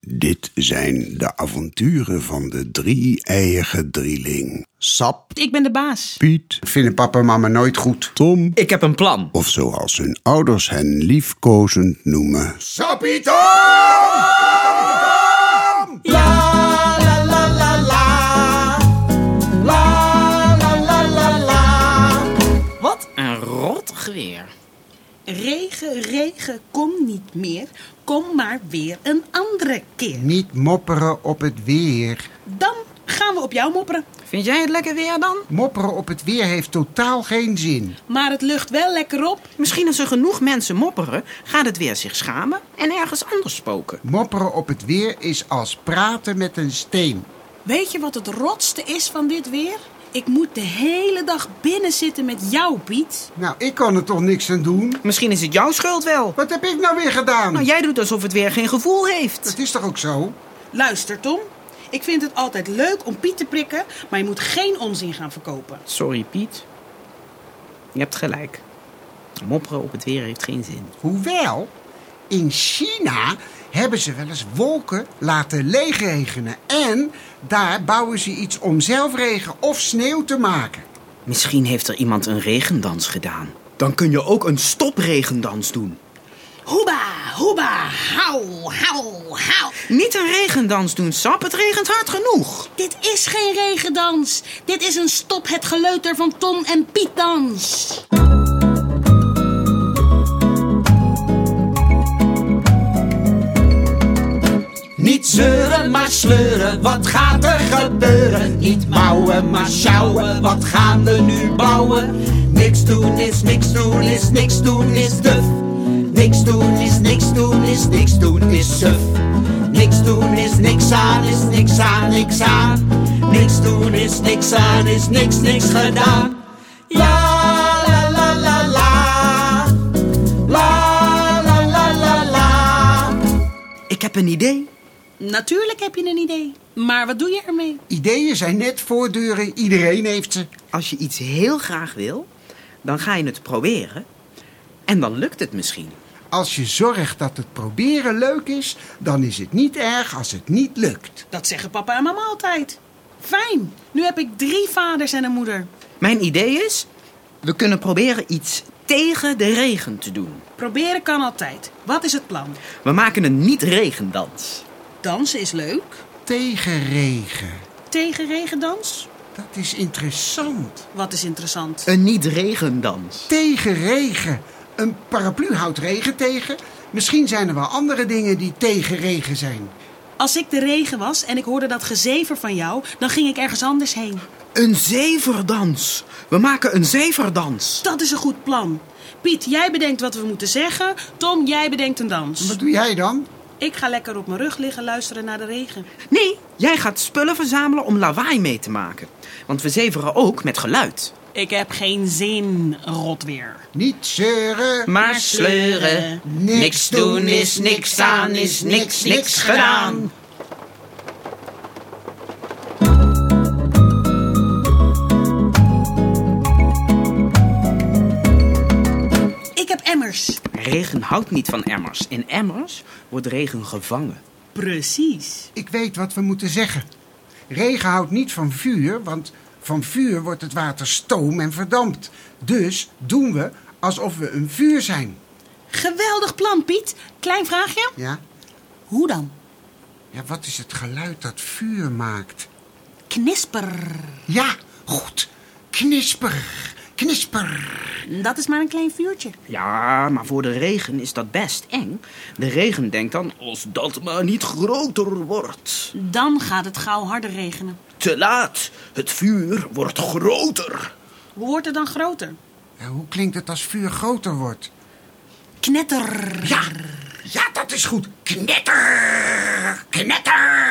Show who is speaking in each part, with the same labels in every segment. Speaker 1: Dit zijn de avonturen van de drie-eierige drieling. Sap,
Speaker 2: Ik ben de baas.
Speaker 1: Piet, vinden papa en mama nooit goed. Tom,
Speaker 3: Ik heb een plan.
Speaker 1: of zoals hun ouders hen liefkozend noemen. Sappietom!
Speaker 3: Wat een rot geweer.
Speaker 2: Regen, regen, kom niet meer. Kom maar weer een andere keer.
Speaker 4: Niet mopperen op het weer.
Speaker 2: Dan gaan we op jou mopperen.
Speaker 3: Vind jij het lekker weer dan?
Speaker 4: Mopperen op het weer heeft totaal geen zin.
Speaker 2: Maar het lucht wel lekker op.
Speaker 3: Misschien als er genoeg mensen mopperen, gaat het weer zich schamen en ergens anders spoken.
Speaker 4: Mopperen op het weer is als praten met een steen.
Speaker 2: Weet je wat het rotste is van dit weer? Ik moet de hele dag binnen zitten met jou, Piet.
Speaker 4: Nou, ik kan er toch niks aan doen?
Speaker 3: Misschien is het jouw schuld wel.
Speaker 4: Wat heb ik nou weer gedaan?
Speaker 3: Nou, jij doet alsof het weer geen gevoel heeft.
Speaker 4: Dat is toch ook zo?
Speaker 2: Luister, Tom. Ik vind het altijd leuk om Piet te prikken, maar je moet geen onzin gaan verkopen.
Speaker 3: Sorry, Piet. Je hebt gelijk. Mopperen op het weer heeft geen zin.
Speaker 4: Hoewel, in China hebben ze wel eens wolken laten leegregenen. En daar bouwen ze iets om zelfregen of sneeuw te maken.
Speaker 3: Misschien heeft er iemand een regendans gedaan. Dan kun je ook een stopregendans doen.
Speaker 2: Hoeba, hoeba, hou, hou, hou.
Speaker 3: Niet een regendans doen, Sap. Het regent hard genoeg.
Speaker 2: Dit is geen regendans. Dit is een stop het geleuter van Tom en Piet dans.
Speaker 5: Niet zeuren, maar sleuren, wat gaat er gebeuren? Niet mouwen, maar sjouwen, wat gaan we nu bouwen? Niks doen is niks doen is niks doen is duf. Niks doen is niks doen is niks doen is suf. Niks doen is niks aan is niks aan niks aan. Niks doen is niks aan is niks niks gedaan. Ja, la la la la. La la la la la.
Speaker 3: Ik heb een idee.
Speaker 2: Natuurlijk heb je een idee. Maar wat doe je ermee?
Speaker 4: Ideeën zijn net voordeuren, iedereen heeft ze.
Speaker 3: Als je iets heel graag wil, dan ga je het proberen. En dan lukt het misschien.
Speaker 4: Als je zorgt dat het proberen leuk is, dan is het niet erg als het niet lukt.
Speaker 2: Dat zeggen papa en mama altijd. Fijn, nu heb ik drie vaders en een moeder.
Speaker 3: Mijn idee is, we kunnen proberen iets tegen de regen te doen.
Speaker 2: Proberen kan altijd. Wat is het plan?
Speaker 3: We maken een niet-regendans.
Speaker 2: Dansen is leuk.
Speaker 4: Tegenregen,
Speaker 2: Tegen regendans?
Speaker 4: dat is interessant.
Speaker 2: Wat is interessant?
Speaker 3: Een niet-regendans.
Speaker 4: Tegenregen, een paraplu houdt regen tegen. Misschien zijn er wel andere dingen die tegenregen zijn.
Speaker 2: Als ik de regen was en ik hoorde dat gezever van jou, dan ging ik ergens anders heen.
Speaker 3: Een zeverdans. We maken een zeverdans.
Speaker 2: Dat is een goed plan. Piet, jij bedenkt wat we moeten zeggen. Tom, jij bedenkt een dans.
Speaker 4: Wat doe jij dan?
Speaker 2: Ik ga lekker op mijn rug liggen luisteren naar de regen.
Speaker 3: Nee, jij gaat spullen verzamelen om lawaai mee te maken. Want we zeveren ook met geluid.
Speaker 2: Ik heb geen zin, rot weer.
Speaker 4: Niet zeuren.
Speaker 3: Maar sleuren.
Speaker 4: Niks doen is niks aan is niks niks gedaan.
Speaker 2: Ik heb emmers.
Speaker 3: Regen houdt niet van emmers. In emmers wordt regen gevangen.
Speaker 2: Precies.
Speaker 4: Ik weet wat we moeten zeggen. Regen houdt niet van vuur, want van vuur wordt het water stoom en verdampt. Dus doen we alsof we een vuur zijn.
Speaker 2: Geweldig plan, Piet. Klein vraagje.
Speaker 4: Ja?
Speaker 2: Hoe dan?
Speaker 4: Ja, wat is het geluid dat vuur maakt?
Speaker 2: Knisper.
Speaker 4: Ja, goed. Knisper, knisper.
Speaker 2: Dat is maar een klein vuurtje.
Speaker 3: Ja, maar voor de regen is dat best eng. De regen denkt dan, als dat maar niet groter wordt.
Speaker 2: Dan gaat het gauw harder regenen.
Speaker 3: Te laat, het vuur wordt groter.
Speaker 2: Hoe wordt het dan groter?
Speaker 4: Ja, hoe klinkt het als vuur groter wordt?
Speaker 2: Knetter.
Speaker 4: Ja, ja, dat is goed. Knetter, knetter.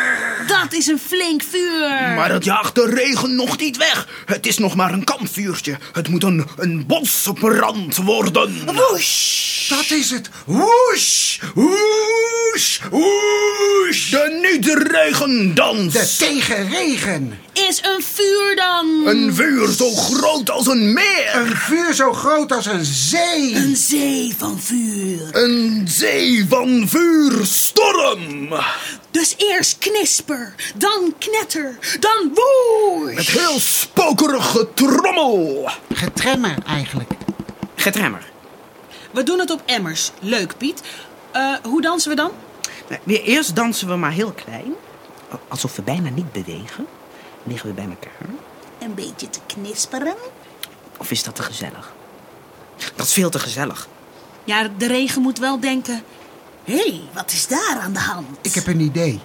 Speaker 2: Dat is een flink vuur.
Speaker 3: Maar het jaagt de regen nog niet weg. Het is nog maar een kampvuurtje. Het moet een, een bosbrand worden.
Speaker 4: Woesh! Dat is het. Woesh! Woesh! Woesh!
Speaker 3: De
Speaker 6: Bij de regendans.
Speaker 4: De tegenregen.
Speaker 2: Is een vuur dan?
Speaker 6: Een vuur zo groot als een meer.
Speaker 4: Een vuur zo groot als een zee.
Speaker 2: Een zee van vuur.
Speaker 6: Een zee van vuurstorm.
Speaker 2: Dus eerst knisper, dan knetter, dan woes.
Speaker 6: Met heel spokerig getrommel.
Speaker 4: Getremmer eigenlijk.
Speaker 6: Getremmer.
Speaker 2: We doen het op emmers. Leuk, Piet. Eh, hoe dansen we dan?
Speaker 3: Nou, weer eerst dansen we maar heel klein. Alsof we bijna niet bewegen. Liggen we bij elkaar.
Speaker 2: Een beetje te knisperen.
Speaker 3: Of is dat te gezellig? Dat is veel te gezellig.
Speaker 2: Ja, de regen moet wel denken... Hé, hey, wat is daar aan de hand?
Speaker 4: Ik heb een idee.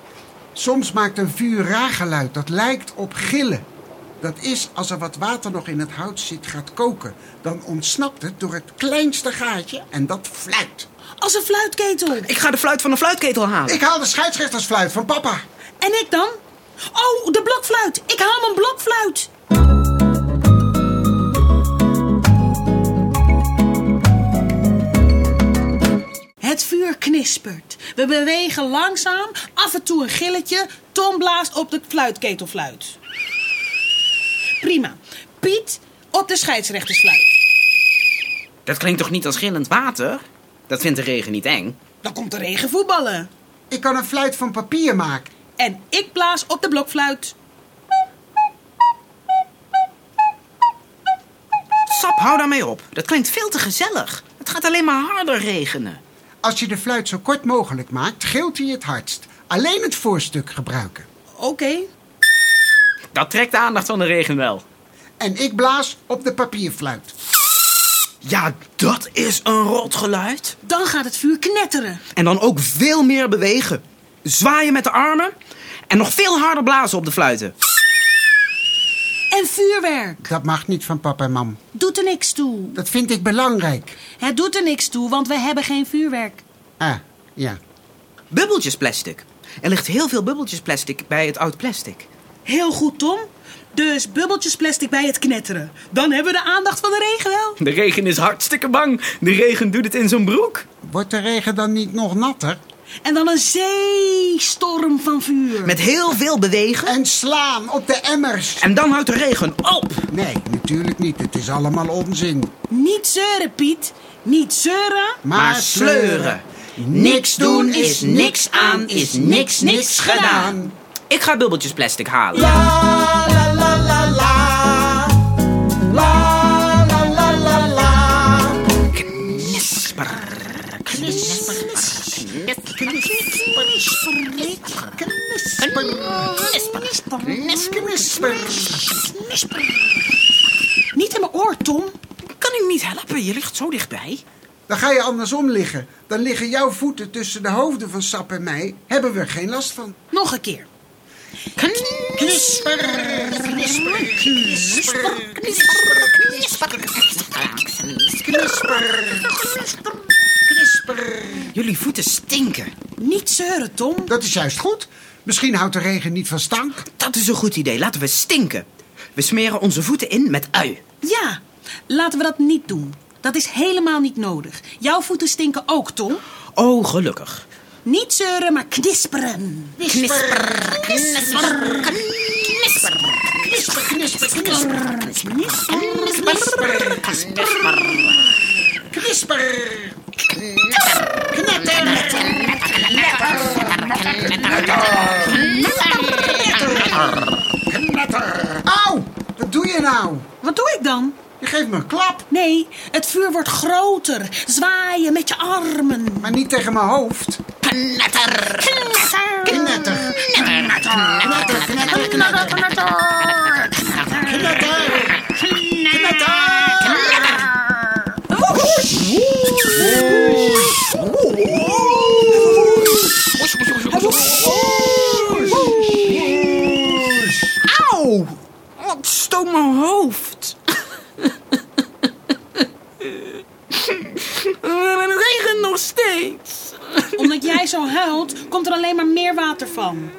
Speaker 4: Soms maakt een vuur raar geluid. Dat lijkt op gillen. Dat is als er wat water nog in het hout zit gaat koken. Dan ontsnapt het door het kleinste gaatje en dat fluit.
Speaker 2: Als een fluitketel.
Speaker 3: Ik ga de fluit van de fluitketel halen.
Speaker 4: Ik haal de scheidsrechtersfluit van papa.
Speaker 2: En ik dan? Oh, de blokfluit. Ik haal mijn blokfluit. Het vuur knispert. We bewegen langzaam, af en toe een gilletje. Tom blaast op de fluitketelfluit. Prima. Piet op de scheidsrechtersfluit.
Speaker 3: Dat klinkt toch niet als gillend water? Dat vindt de regen niet eng.
Speaker 2: Dan komt de regen voetballen.
Speaker 4: Ik kan een fluit van papier maken.
Speaker 2: En ik blaas op de blokfluit.
Speaker 3: Sap, hou daarmee op. Dat klinkt veel te gezellig. Het gaat alleen maar harder regenen.
Speaker 4: Als je de fluit zo kort mogelijk maakt, gilt hij het hardst. Alleen het voorstuk gebruiken.
Speaker 2: Oké,
Speaker 3: Dat trekt de aandacht van de regen wel.
Speaker 4: En ik blaas op de papierfluit.
Speaker 3: Ja, dat is een rot geluid.
Speaker 2: dan gaat het vuur knetteren.
Speaker 3: En dan ook veel meer bewegen. Zwaaien met de armen. En nog veel harder blazen op de fluiten.
Speaker 2: En vuurwerk.
Speaker 4: Dat mag niet van papa en mam.
Speaker 2: Doet er niks toe.
Speaker 4: Dat vind ik belangrijk.
Speaker 2: Het doet er niks toe, want we hebben geen vuurwerk.
Speaker 4: Ah, ja.
Speaker 3: Bubbeltjesplastic. Er ligt heel veel bubbeltjesplastic bij het oud plastic.
Speaker 2: Heel goed, Tom. Dus bubbeltjes plastic bij het knetteren. Dan hebben we de aandacht van de regen wel.
Speaker 3: De regen is hartstikke bang. De regen doet het in zijn broek.
Speaker 4: Wordt de regen dan niet nog natter?
Speaker 2: En dan een zeestorm van vuur.
Speaker 3: Met heel veel bewegen.
Speaker 4: En slaan op de emmers.
Speaker 3: En dan houdt de regen op.
Speaker 4: Nee, natuurlijk niet. Het is allemaal onzin.
Speaker 2: Niet zeuren, Piet. Niet zeuren.
Speaker 3: Maar sleuren.
Speaker 4: Niks doen is niks aan, is niks niks gedaan.
Speaker 3: Ik ga bubbeltjes plastic halen.
Speaker 2: Niet in mijn oor, Tom.
Speaker 3: Kan u niet helpen? Je ligt zo dichtbij.
Speaker 4: Dan ga je andersom liggen. Dan liggen jouw voeten tussen de hoofden van Sap en mij. Hebben we er geen last van.
Speaker 2: Nog een keer.
Speaker 3: Jullie voeten stinken.
Speaker 2: Niet zeuren, Tom.
Speaker 4: Dat is juist goed. Misschien houdt de regen niet van stank.
Speaker 3: Dat is een goed idee. Laten we stinken. We smeren onze voeten in met ui.
Speaker 2: Ja, laten we dat niet doen. Dat is helemaal niet nodig. Jouw voeten stinken ook, Tom.
Speaker 3: Oh, gelukkig.
Speaker 2: Niet zeuren, maar knisperen.
Speaker 4: Crisper! Au! Wat doe je nou?
Speaker 2: Wat doe ik dan?
Speaker 4: Je geeft me een klap,
Speaker 2: Nee, het vuur wordt groter. Zwaaien met je armen.
Speaker 4: maar niet tegen mijn hoofd.
Speaker 2: Knetter.
Speaker 4: Knetter!
Speaker 3: Auw! Oh, ik stoot mijn hoofd. Het regent nog steeds.
Speaker 2: Omdat jij zo huilt, komt er alleen maar meer water van.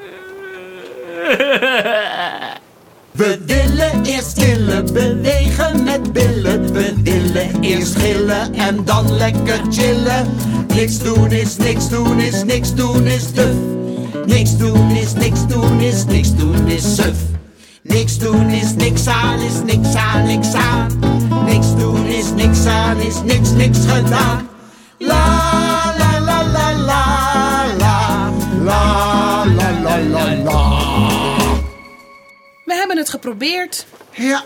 Speaker 5: We willen eerst chillen, bewegen met billen. We willen eerst gillen en dan lekker chillen. Niks doen is niks doen is niks doen is duf. Niks doen is niks doen is niks doen is suf. Niks doen is niks aan is niks aan niks aan. Niks doen is niks aan is niks niks gedaan. La la la la la la la la la la la.
Speaker 2: We hebben het geprobeerd.
Speaker 4: Ja,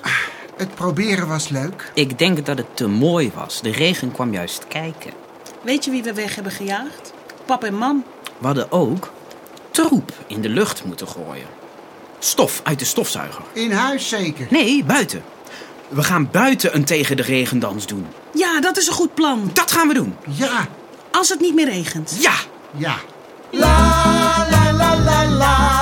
Speaker 4: het proberen was leuk.
Speaker 3: Ik denk dat het te mooi was. De regen kwam juist kijken.
Speaker 2: Weet je wie we weg hebben gejaagd? Pap en mam.
Speaker 3: We hadden ook troep in de lucht moeten gooien. Stof uit de stofzuiger.
Speaker 4: In huis zeker.
Speaker 3: Nee, buiten. We gaan buiten een tegen de regendans doen.
Speaker 2: Ja, dat is een goed plan.
Speaker 3: Dat gaan we doen.
Speaker 4: Ja,
Speaker 2: Als het niet meer regent.
Speaker 3: Ja!
Speaker 4: ja.
Speaker 5: La la la la la